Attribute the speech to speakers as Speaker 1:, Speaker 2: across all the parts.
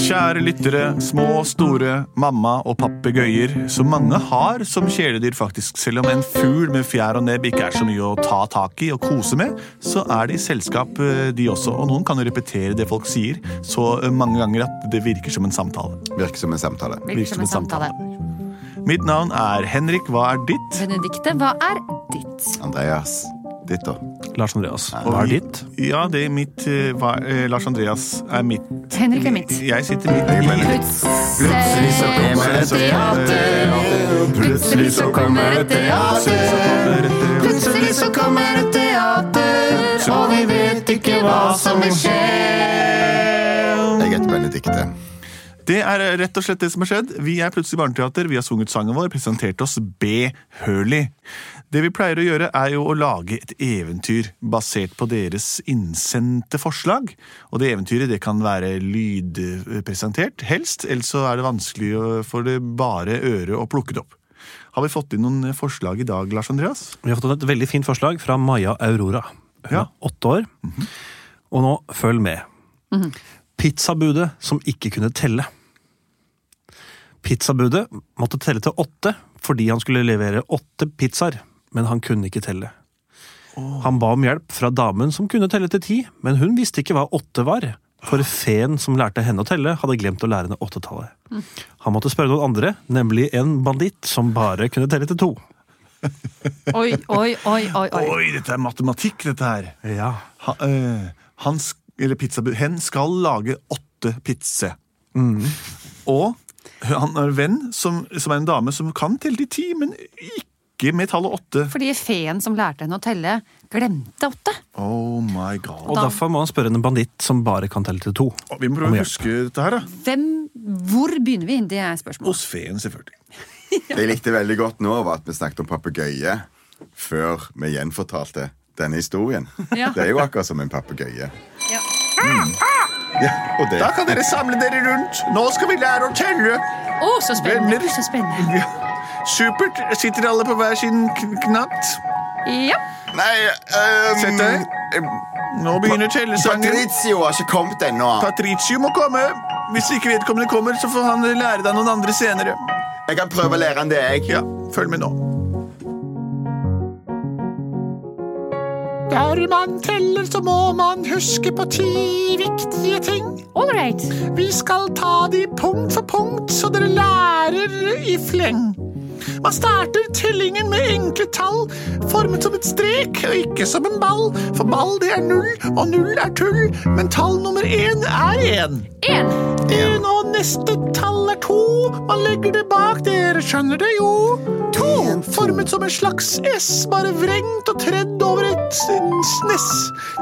Speaker 1: Kjære lyttere, små og store, mamma og papegøyer, som mange har som kjæledyr faktisk, selv om en fugl med fjær og nebb ikke er så mye å ta tak i og kose med, så er de i selskap eh, de også, og noen kan jo repetere det folk sier så eh, mange ganger at det virker som en samtale.
Speaker 2: Virker som en samtale.
Speaker 1: Virker som en samtale. Mitt navn er Henrik, hva er ditt?
Speaker 3: Benedikte, hva er ditt?
Speaker 2: Andreas. Ditt, da.
Speaker 4: Lars Andreas.
Speaker 2: hva er
Speaker 4: ditt?
Speaker 1: Ja, det er mitt, eh, hva, eh, Lars Andreas er mitt.
Speaker 3: Henrik er mitt.
Speaker 1: Jeg sitter midt i.
Speaker 3: Plutselig så
Speaker 2: kommer det teater.
Speaker 3: Plutselig så kommer det teater. Plutselig så kommer det teater. Og vi vet ikke hva som vil skje.
Speaker 2: Jeg heter Benedikte.
Speaker 1: Det er rett og slett det som har skjedd. Vi er plutselig barneteater, vi har sunget sangen vår, presentert oss behølig. Det vi pleier å gjøre er jo å lage et eventyr basert på deres innsendte forslag. Og det eventyret det kan være lydpresentert, helst, ellers så er det vanskelig å- for det bare øret å plukke det opp. Har vi fått inn noen forslag i dag, Lars Andreas?
Speaker 4: Vi har fått et veldig fint forslag fra Maja Aurora. Hun
Speaker 1: Ja.
Speaker 4: er åtte år. Og nå, følg med. Pizzabudet som ikke kunne telle. Pizzabudet måtte telle til åtte fordi han skulle levere åtte pizzaer, men han kunne ikke telle. Han ba om hjelp fra damen som kunne telle til ti, men hun visste ikke hva åtte var. For feen som lærte henne å telle, hadde glemt å lære henne åttetallet. Han måtte spørre noen andre, nemlig en banditt som bare kunne telle til to.
Speaker 3: Oi, oi, oi, oi. oi.
Speaker 1: Oi, dette er matematikk, dette her.
Speaker 4: Ja.
Speaker 1: Ha, eh, han, sk- eller pizzabud, hen skal lage åtte pizze. Mm. Og han har en venn som, som er en dame som kan telle til ti, men ikke med tallet åtte.
Speaker 3: Fordi feen som lærte henne å telle, glemte åtte.
Speaker 1: Oh my god.
Speaker 4: Og
Speaker 3: Da-
Speaker 4: derfor må han spørre en banditt som bare kan telle til to.
Speaker 1: Vi må
Speaker 4: Om
Speaker 1: prøve å
Speaker 4: hjelp.
Speaker 1: huske dette her, da.
Speaker 3: Hvem, hvor begynner vi? Det er spørsmålet.
Speaker 1: Hos feen, selvfølgelig.
Speaker 2: Det jeg likte veldig godt nå, var at vi snakket om papegøye før vi gjenfortalte denne historien.
Speaker 3: Ja.
Speaker 2: Det er jo akkurat som en papegøye.
Speaker 3: Ja.
Speaker 2: Ja, og det.
Speaker 1: Da kan dere samle dere rundt. Nå skal vi lære å telle.
Speaker 3: Å, så spennende!
Speaker 1: Venner.
Speaker 3: Så spennende.
Speaker 1: Ja. Supert. Sitter alle på hver sin kn- knatt?
Speaker 3: Ja.
Speaker 2: Nei um,
Speaker 1: Sett deg. Nå begynner tellesangen.
Speaker 2: Patricio har ikke kommet ennå.
Speaker 1: Patricio må komme. Hvis ikke vedkommende kommer, så får han lære deg noen andre senere.
Speaker 2: Jeg kan prøve å lære han det, jeg.
Speaker 1: Ja, følg med nå.
Speaker 5: Der man teller, så må man huske på ti viktige ting.
Speaker 3: All right.
Speaker 5: Vi skal ta de punkt for punkt, så dere lærer i fleng. Man starter tellingen med enkle tall, formet som et strek og ikke som en ball. For ball det er null, og null er tull, men tall nummer én er én.
Speaker 3: Én.
Speaker 5: Én og neste tall er to. Man legger det bak, dere skjønner det jo. To, formet som en slags S, bare vrengt og tredd over et s- sness.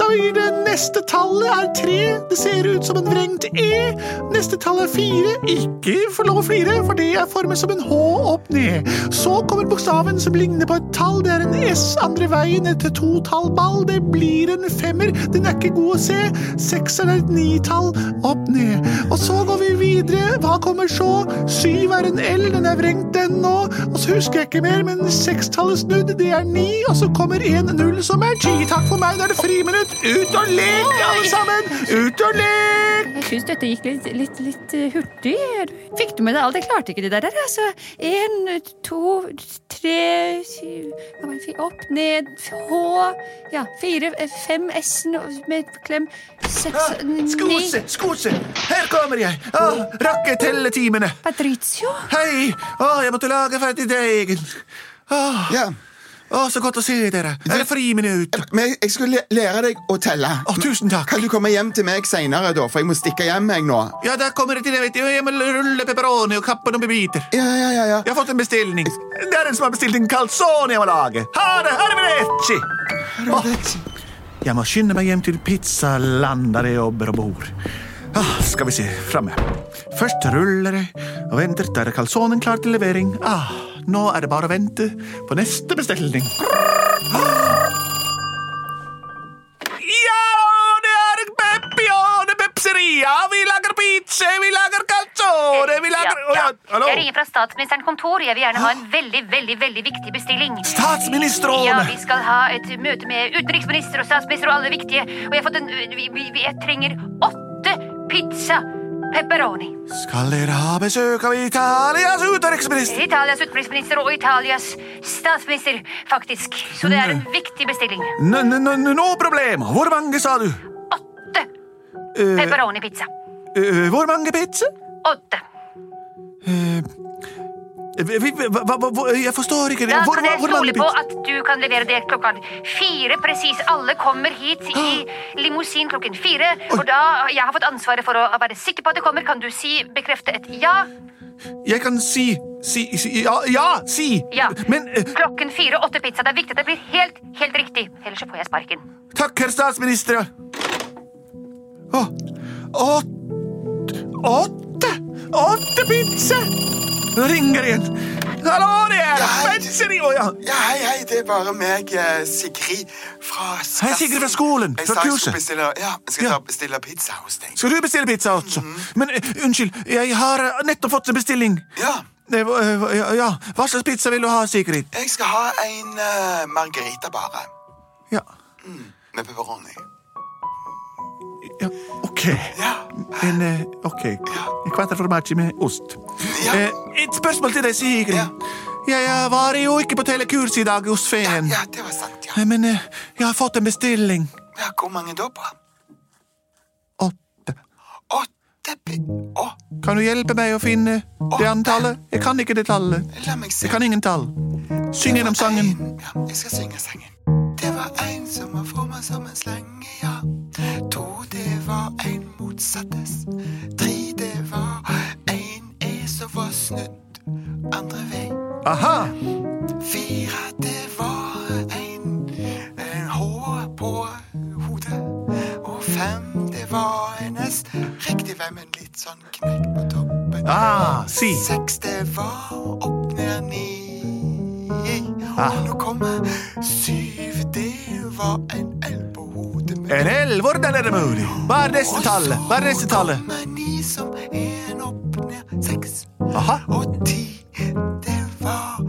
Speaker 5: Da blir det neste tallet er tre, det ser ut som en vrengt E. Neste tall er fire, ikke for lov å flire, for det er formet som en H opp ned. Så kommer bokstaven som ligner på et tall, det er en S andre veien etter to tall ball, det blir en femmer, den er ikke god å se. Sekseren er et nitall opp ned. Og så går vi videre videre. Hva kommer så? Syv er en L, den er vrengt den nå. Og så husker jeg ikke mer, men sekstallet snudd, det er ni. Og så kommer en null som er ti. Takk for meg, da er det friminutt. Ut og lek, alle sammen! Ut og lek!
Speaker 3: Jeg syns dette gikk litt, litt, litt eh, hurtig. Fikk du med deg alt? Jeg klarte ikke det der. Altså, én, to, tre syv, hva var det? Fi- Opp, ned, H Ja, fire, eh, fem S-en og- med klem. Seks, ni
Speaker 1: Skose, skose, her kommer jeg. Å, rakke telletimene.
Speaker 3: Patricio?
Speaker 1: Hei, å, jeg måtte lage ferdig deigen. Å,
Speaker 6: Ja,
Speaker 1: å, så godt å se dere. Er det friminutt?
Speaker 6: men jeg- jeg skulle læ- lære deg å telle.
Speaker 1: Å, tusen takk.
Speaker 6: Kan du komme hjem til meg senere, da? For jeg må stikke hjem, jeg nå.
Speaker 1: Ja, der kommer det til, jeg vet du. Jeg må rulle pepperoni og kappe noen biter.
Speaker 6: Ja, ja, ja, ja.
Speaker 1: Jeg har fått en bestilling. Det er en som har bestilt en calzone jeg må lage. Ha det! Arrivederci!
Speaker 7: Jeg må skynde meg hjem til pizzaland der jeg jobber og bor. Ah, skal vi se, framme. Først ruller jeg og venter. Der er calzonen klar til levering. Ah, nå er det bare å vente på neste bestilling.
Speaker 1: Ja, det er en peppione pepseria. Vi lager pizza, vi lager calzone, vi lager Å,
Speaker 8: Ja,
Speaker 1: ja,
Speaker 8: ja.
Speaker 1: hallo?
Speaker 8: Jeg ringer fra statsministerens kontor. Jeg vil gjerne ha en veldig, veldig, veldig viktig bestilling. Ja,
Speaker 1: Statsministeren!
Speaker 8: vi skal ha et møte med utenriksminister og statsminister og alle viktige. Og jeg har fått en vi, vi, vi, Jeg trenger åtte pizza pepperoni.
Speaker 1: Skal dere ha besøk av Italias utenriksminister?
Speaker 8: Italias utenriksminister og Italias statsminister, faktisk. Så det er en
Speaker 1: Mm.
Speaker 8: viktig bestilling.
Speaker 1: No, no, no, no problem. Hvor mange, sa du?
Speaker 8: Åtte pepperoni-pizza.
Speaker 1: Eh, hvor mange pizza?
Speaker 8: Åtte.
Speaker 1: Eh, vi- vi- hva- hva- hva- Jeg forstår ikke det.
Speaker 8: Da
Speaker 1: Hvor,
Speaker 8: kan jeg
Speaker 1: hvor mange
Speaker 8: stole på
Speaker 1: pizza?
Speaker 8: at du kan levere det klokken fire presis. Alle kommer hit i limousin klokken fire. Og da jeg har fått ansvaret for å være sikker på at det kommer, kan du si bekrefte et ja?
Speaker 1: Jeg kan si Si, si ja, ja, si!
Speaker 8: Ja.
Speaker 1: Men eh,
Speaker 8: Klokken fire, åtte pizza. Det er viktig at det blir helt, helt riktig. Ellers så får jeg sparken.
Speaker 1: takk, herr statsminister. Å, åtte Åtte! Åtte pizza! Nå ringer igjen. Hallo, det er
Speaker 6: Nei.
Speaker 1: Benzeri! Å ja.
Speaker 6: Ja, hei, hei, det er bare meg, eh, Sigrid fra Skass.
Speaker 1: Hei, Sigrid fra skolen,
Speaker 6: Jeg
Speaker 1: fra
Speaker 6: sa jeg
Speaker 1: kurset.
Speaker 6: skulle bestille, ja, jeg skal
Speaker 1: Ja.
Speaker 6: ta bestille pizza hos deg.
Speaker 1: Skal du bestille pizza også? Men eh, unnskyld, jeg har eh, nettopp fått en bestilling.
Speaker 6: Ja,
Speaker 1: Det var, eh, ja, ja. Hva slags pizza vil du ha, Sigrid?
Speaker 6: jeg skal ha en eh, margarita bare,
Speaker 1: Ja,
Speaker 6: med pepperoni.
Speaker 1: ja. ok.
Speaker 6: Ja,
Speaker 1: En, eh, ok. En quattro formaggi med ost.
Speaker 6: Ja.
Speaker 1: Eh, et spørsmål til deg, Sigrid.
Speaker 6: Ja.
Speaker 1: Jeg eh, var jo ikke på telekurs i dag hos Feen.
Speaker 6: ja, det var sant, ja.
Speaker 1: Eh, Men eh, jeg har fått en bestilling.
Speaker 6: Ja, hvor mange da på?
Speaker 1: Åtte.
Speaker 6: Åtte pi... Å,
Speaker 1: Kan du hjelpe meg å finne det antallet? Jeg kan ikke det tallet.
Speaker 6: la meg se.
Speaker 1: Jeg kan ingen tall. Syng gjennom sangen.
Speaker 6: En- Ja, jeg skal synge sangen. Det var en som var forma som en slange, ja. To, det var en motsattes. Tre, det var en E som var snudd andre vei.
Speaker 1: Aha!
Speaker 6: Fire, det var en, en H på hodet. Og fem, det var en S. Riktig vei, men litt sånn knekk på toppen.
Speaker 1: Ah, si.
Speaker 6: Seks, det var opp ned ni. Og nå kommer syv, det var en L på hodet mitt.
Speaker 1: En L, hvordan er det mulig? Hva er neste
Speaker 6: Og
Speaker 1: tallet? Hva er neste
Speaker 6: så
Speaker 1: tallet?
Speaker 6: kommer ni som er en opp ned seks.
Speaker 1: Aha.
Speaker 6: Og ti, det var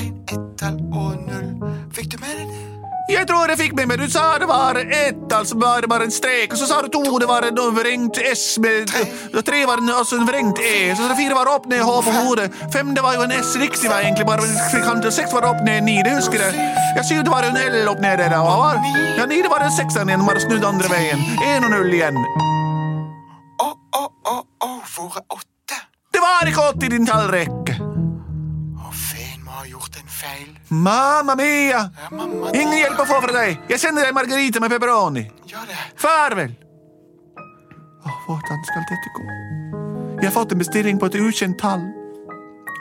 Speaker 6: en ettall og null. Fikk du med deg det?
Speaker 1: Jeg tror jeg fikk med meg, du sa det var ett, altså bare, bare en strek, og så sa du to, det var en vrengt S med og Tre var en, altså en vrengt E, så det fire var opp ned H på hodet. Fem, det var jo en S riktig vei, egentlig, bare en firkant. Seks var opp ned ni, det husker jeg. Ja, syv, det var en L opp ned der, hva var? Ja, ni, det var en sekseren igjen, bare snudd andre veien. En og null igjen.
Speaker 6: Å, å, å, å, hvor er åtte?
Speaker 1: Det var ikke åtte i din tallrekke.
Speaker 6: Å, Fen må ha gjort en feil.
Speaker 1: Mamma mia!
Speaker 6: Ja, mamma.
Speaker 1: Ingen hjelp å få fra deg. Jeg sender deg margarita med pepperoni.
Speaker 6: Gjør det.
Speaker 1: Farvel! Å, hvordan skal dette gå? Jeg har fått en bestilling på et ukjent tall.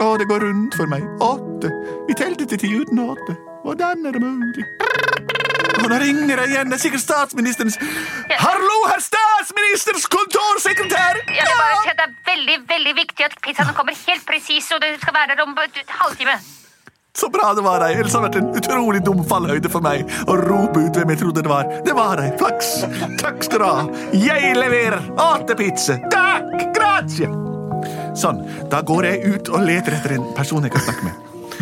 Speaker 1: Å, det går rundt for meg. Åtte. Vi telte til ti uten åtte. Hvordan er det mulig? Å, nå ringer jeg igjen. Det er sikkert statsministerens Hallo, herr statsministerens kontorsekretær!
Speaker 8: Jeg vil bare si at Det er veldig veldig viktig at pizzaen kommer helt presis, og det skal være der om et halvtime.
Speaker 1: Så bra det var deg. Ellers har det vært en utrolig dum fallhøyde for meg å rope ut hvem jeg trodde det var. Det var deg. Flaks. Takk skal du ha. Jeg leverer. Åtte pizza. Takk. Grazie.
Speaker 7: Sånn. Da går jeg ut og leter etter en person jeg kan snakke med.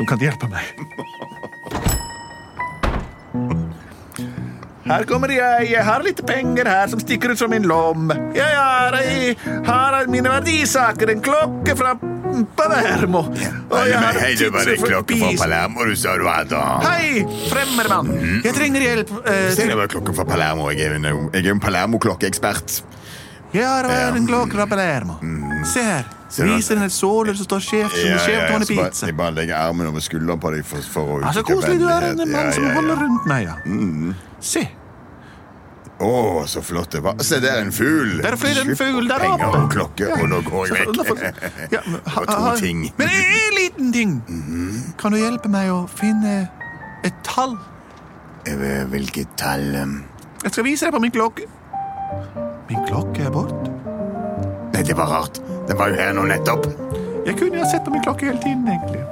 Speaker 7: Som kan hjelpe meg.
Speaker 1: Her kommer jeg, jeg har litt penger her som stikker ut som en lom. Jeg har, jeg har mine verdisaker, en klokke fra Palermo. Og jeg har
Speaker 2: Hei, du bare
Speaker 1: tidsel for
Speaker 2: klokken fra
Speaker 1: pis.
Speaker 2: Palermo, Mm. du sa du hadde.
Speaker 1: Hei, fremmedmann. Jeg trenger hjelp. eh,
Speaker 2: Se,
Speaker 1: til-
Speaker 2: det var klokken fra Palermo. Jeg er en, jeg er en Palermo-klokkeekspert.
Speaker 1: Jeg har
Speaker 2: Ja. Mm.
Speaker 1: en klokke fra Palermo. Se her.
Speaker 2: Ser du
Speaker 1: Viser den et såler som står skjevt som en skjevtående
Speaker 2: så bare,
Speaker 1: pizza.
Speaker 2: jeg bare legger armen over skulderen på deg for, for å
Speaker 1: Ja, så
Speaker 2: uttrykke
Speaker 1: koselig du er, en
Speaker 2: vennlighet.
Speaker 1: mann
Speaker 2: Ja,
Speaker 1: som
Speaker 2: ja, ja.
Speaker 1: holder rundt meg, ja. Mm. Se,
Speaker 2: Å, så flott det var. Se, det er en fugl.
Speaker 1: der flyr en
Speaker 2: Slipp
Speaker 1: fugl der oppe.
Speaker 2: Penger og klokke, og nå går jeg
Speaker 1: Så- da
Speaker 2: vekk.
Speaker 1: får- Ja, men-
Speaker 2: Og to
Speaker 1: ha- ha-
Speaker 2: ting.
Speaker 1: Men en, en liten ting. Kan du hjelpe meg å finne et tall?
Speaker 2: Eh, Hvilket tall? um?
Speaker 1: Jeg skal vise deg på min klokke. Min klokke er borte.
Speaker 2: Nei, det var rart. Den var jo her nå nettopp.
Speaker 1: Jeg kunne jo ha sett på min klokke hele tiden, egentlig.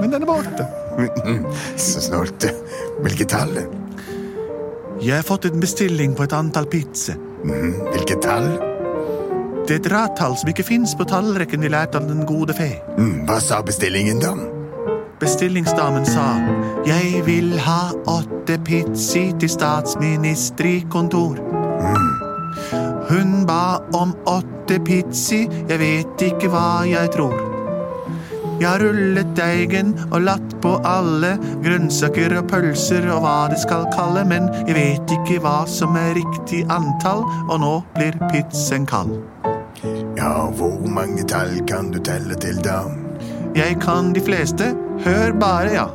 Speaker 1: Men den er borte.
Speaker 2: Så snålt. Hvilket tall?
Speaker 1: Jeg har fått en bestilling på et antall pizza.
Speaker 2: Mhm, Hvilket tall?
Speaker 1: Det er et rattall som ikke fins på tallrekken vi lærte av den gode fe.
Speaker 2: Mm, Hva sa bestillingen, da?
Speaker 1: Bestillingsdamen sa Jeg vil ha åtte pizzi til statsministerikontor. Hun ba om åtte pizzi, jeg vet ikke hva jeg tror. Jeg har rullet deigen og latt på alle grønnsaker og pølser og hva de skal kalle, men jeg vet ikke hva som er riktig antall, og nå blir pizzaen kald.
Speaker 2: Ja, hvor mange tall kan du telle til, da?
Speaker 1: Jeg kan de fleste. Hør bare, ja.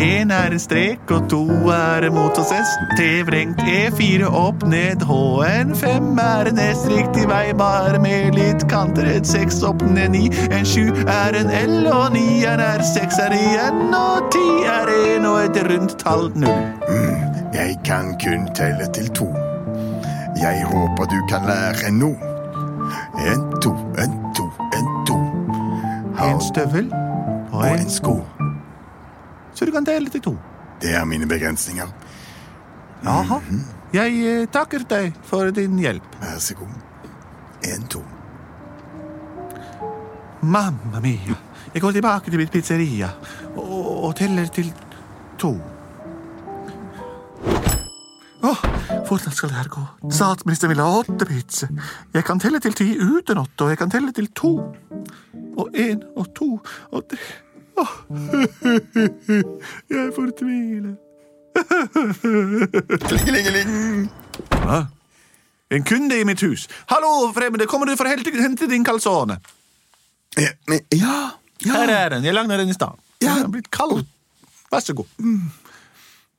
Speaker 1: Én er en strek, og to er en motsatt S. T vrengt E4 E opp ned. H-en fem er en S riktig vei, bare med litt kanter. En seks opp ned ni. En sju er en L, og ni er en R. Seks er igjen, og ti er en, og et rundt tall null.
Speaker 2: Jeg kan kun telle til to. Jeg håper du kan lære noe. En, to, en, to, en, to. Har
Speaker 1: En støvel og
Speaker 2: og
Speaker 1: en
Speaker 2: en sko.
Speaker 1: Så du kan dele til to.
Speaker 2: Det er mine begrensninger.
Speaker 1: Jaha. Jeg eh, takker deg for din hjelp.
Speaker 2: Vær så god. En, to.
Speaker 1: Mamma mia. Jeg går tilbake til mitt pizzeria og, og teller til to. Åh, hvordan skal det her gå? Statsministeren vil ha åtte pizza. Jeg kan telle til ti uten åtte, og jeg kan telle til to. Og én og to og tre Åh, jeg fortviler.
Speaker 2: Klingelingeling!
Speaker 1: En kunde i mitt hus. Hallo, fremmede, kommer du for å helte- hente din calzone?
Speaker 2: Ja, men- ja,
Speaker 1: Her
Speaker 2: ja.
Speaker 1: er den. Jeg lagde den i stad.
Speaker 2: Ja. Mm.
Speaker 1: Den er blitt kald. Vær så god.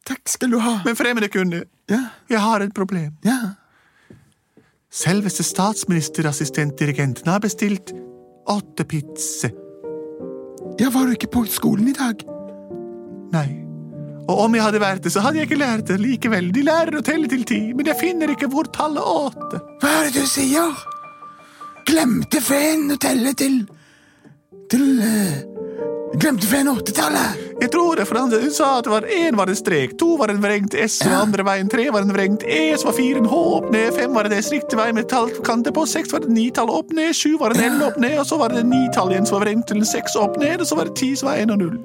Speaker 2: Takk skal du ha.
Speaker 1: Men fremmede kunde,
Speaker 2: Ja,
Speaker 1: jeg har et problem.
Speaker 2: ja.
Speaker 1: Selveste statsministerassistentdirigenten har bestilt åtte pizze.
Speaker 2: Ja, var du ikke på skolen i dag?
Speaker 1: Nei. Og om jeg hadde vært det, så hadde jeg ikke lært det likevel. De lærer å telle til ti, men jeg finner ikke hvor tallet åtte.
Speaker 2: Hva er det du sier? Glemte feen å telle til Til eh, Glemte feen åttetallet?
Speaker 1: Jeg tror det, for han sa at det var én var en strek, to var en vrengt S, og andre veien tre var en vrengt E, så var fire en H opp ned, fem var en S riktig vei med tallkanter på, seks var det ni-tall opp ned, sju var en L opp ned, og så var det ni-tall igjen som var vrengt til en seks opp ned, og så var det ti som var én og null.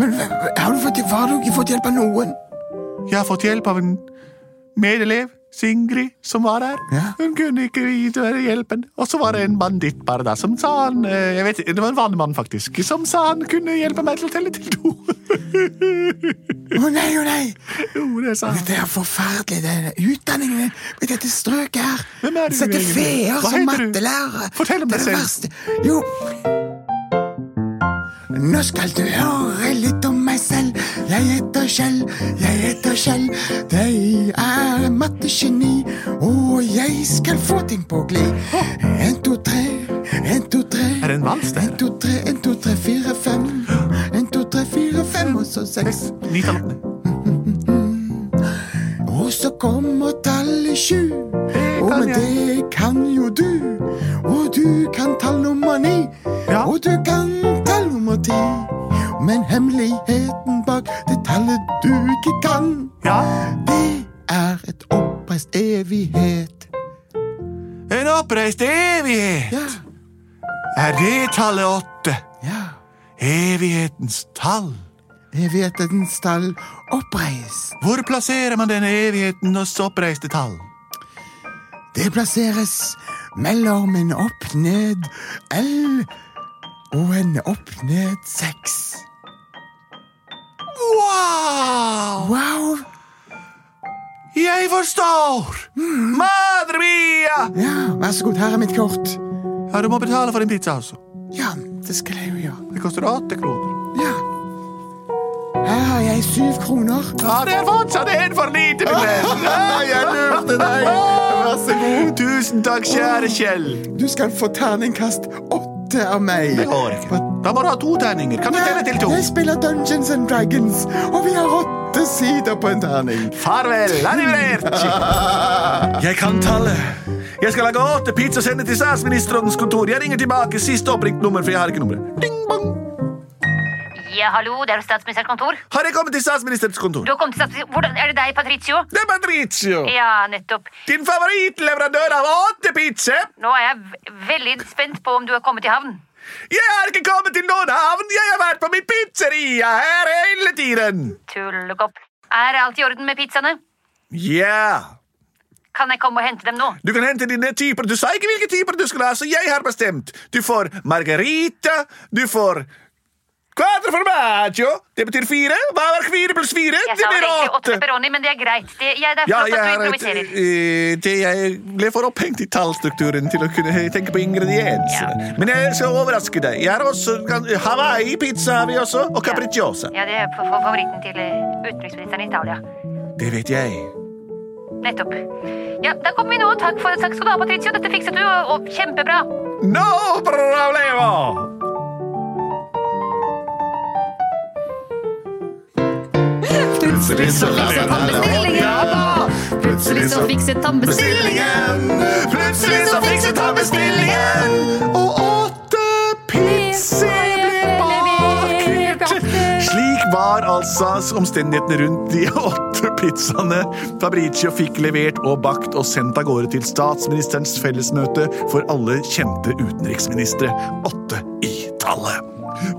Speaker 2: Men hva- hva- har du, fått, har du ikke fått hjelp av noen?
Speaker 1: Jeg har fått hjelp av en medelev, Singrid, som var der.
Speaker 2: Ja.
Speaker 1: Hun kunne ikke videre hjelpen. Og så var det en banditt bare der som sa han eh, jeg vet, ikke, Det var en vanlig mann, faktisk. Som sa han kunne hjelpe meg til å telle til to.
Speaker 2: Å nei, å nei!
Speaker 1: jo, det sa han.
Speaker 2: Dette er forferdelig. Denne utdanningen din med dette strøket her.
Speaker 1: Hvem er du
Speaker 2: Sette
Speaker 1: egentlig?
Speaker 2: feer
Speaker 1: Hva
Speaker 2: som
Speaker 1: heter du?
Speaker 2: mattelærere.
Speaker 1: Fortell om
Speaker 2: Det er
Speaker 1: deg
Speaker 2: det
Speaker 1: selv.
Speaker 2: verste. Jo. Nå skal du høre litt om meg selv. Jeg heter Kjell, jeg heter Kjell. Jeg er mattegeni, og jeg skal få ting på glid. En, to, tre, en, to, tre.
Speaker 1: Er det en vals, det her?
Speaker 2: En, to, tre, en, to, tre, fire, fem. En, to, tre, fire, fem, og så seks.
Speaker 1: Ni tall opp ned.
Speaker 2: Og så kommer tallet sju. Og men det kan jo du. Og du kan tall nummer ni.
Speaker 1: Ja.
Speaker 2: Og du kan tall nummer ti. Men hemmeligheten bak det tallet du ikke kan,
Speaker 1: Ja.
Speaker 2: det er et oppreist evighet.
Speaker 1: En oppreist evighet.
Speaker 2: Ja.
Speaker 1: Er det tallet åtte?
Speaker 2: Ja.
Speaker 1: Evighetens tall.
Speaker 2: Evighetens tall oppreist.
Speaker 1: Hvor plasserer man denne evighetens oppreiste tall?
Speaker 2: Det plasseres mellom en opp-ned L og en opp-ned 6.
Speaker 1: Wow!
Speaker 2: Wow!
Speaker 1: Jeg forstår!
Speaker 2: Mm.
Speaker 1: Madre mia!
Speaker 2: Ja, vær så god, her er mitt kort.
Speaker 1: Ja, du må betale for din pizza også.
Speaker 2: Ja, det skal jeg jo gjøre.
Speaker 1: Det koster åtte kroner.
Speaker 2: Ja. Her har jeg syv kroner.
Speaker 1: Ja, det er fortsatt en for lite, min venn.
Speaker 2: jeg lurte deg! Vær så god.
Speaker 1: Tusen takk, kjære Kjell.
Speaker 2: Du skal få terningkast åtte av meg.
Speaker 1: Det går ikke. Da må du ha to terninger. Kan du telle til to?
Speaker 2: Jeg spiller Dungeons and Dragons, og vi har åtte sider på en terning.
Speaker 1: Farvel. Arrivederci. Jeg kan tallet. Jeg skal lage åtte pizza og sende til statsministerens kontor. Jeg ringer tilbake siste oppringt nummer, for jeg har ikke nummeret. Ding, bong.
Speaker 8: Ja, hallo, det er statsministerens kontor.
Speaker 1: Har jeg kommet til statsministerens kontor?
Speaker 8: Du har kommet til statsminister... Hvordan er det deg, Patricio?
Speaker 1: Det er Patricio.
Speaker 8: Ja, nettopp.
Speaker 1: Din favorittleverandør av åtte pizza.
Speaker 8: Nå er jeg v- veldig spent på om du har kommet i havn.
Speaker 1: Jeg har ikke kommet til noen havn. Jeg har vært på min pizzeria her hele tiden.
Speaker 8: Tullekopp. Er alt i orden med pizzaene?
Speaker 1: Ja.
Speaker 8: Kan jeg komme og hente dem nå?
Speaker 1: Du kan hente dine typer. dus Du sa ikke hvilke typer du skulle ha, så jeg har bestemt. Du får margarita, du får Quattro formaggio. Det betyr fire. Hva er fire pluss fire?
Speaker 8: Jeg
Speaker 1: Det
Speaker 8: sa
Speaker 1: blir
Speaker 8: egentlig åtte
Speaker 1: åtte.
Speaker 8: pepperoni, men det er greit. Det, jeg, det er
Speaker 1: Ja,
Speaker 8: flott
Speaker 1: jeg,
Speaker 8: at du
Speaker 1: har et, eh,
Speaker 8: improviserer.
Speaker 1: det jeg ble for opphengt i tallstrukturen til å kunne tenke på ingrediensene. Men jeg skal overraske deg. Jeg har også Hawaii-pizza har vi også, og capricciosa.
Speaker 8: Ja, det er fa- fa- favoritten til eh, utenriksministeren i Italia.
Speaker 1: Det vet jeg.
Speaker 8: Nettopp. Ja, da kommer vi nå. Takk, for, takk skal du ha, Patricio. Dette fikset du, og, og kjempebra.
Speaker 1: No problemo!
Speaker 5: Plutselig så leser han alle
Speaker 3: Bestillingen!
Speaker 5: Plutselig
Speaker 3: Så fikset han bestillingen.
Speaker 5: Plutselig så fikset han bestillingen.
Speaker 1: Og åtte pizzaer ble bakert! Slik var altså omstendighetene rundt de åtte pizzaene Fabricio fikk levert og bakt og sendt av gårde til statsministerens fellesmøte for alle kjente utenriksministre. Åtte i tallet.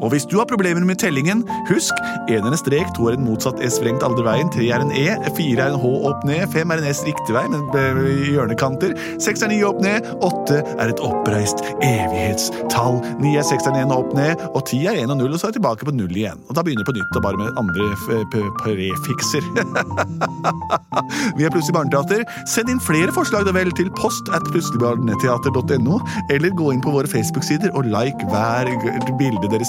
Speaker 1: Og hvis du har problemer med tellingen, husk en er en strek, to er en motsatt S vrengt alle veien, tre er en E, fire er en H opp ned, fem er en S riktig vei, men eh, i hjørnekanter, seks er ni opp ned, åtte er et oppreist evighetstall, ni er seks er en opp ned, og ti er en og null, og så er jeg tilbake på null igjen. Og da begynner jeg på nytt, og bare med andre f- eh, p- prefikser. Vi er Plutselig barneteater. Send inn flere forslag da vel til post at plutseligbarneteater.no, eller gå inn på våre Facebook-sider og like hver g- bilde dere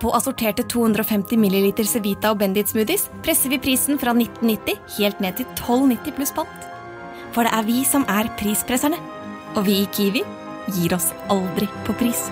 Speaker 9: På assorterte 250 ml Cevita og Bendit smoothies presser vi prisen fra 1990 helt ned til 12,90 pluss pant. For det er vi som er prispresserne. Og vi i Kiwi gir oss aldri på pris.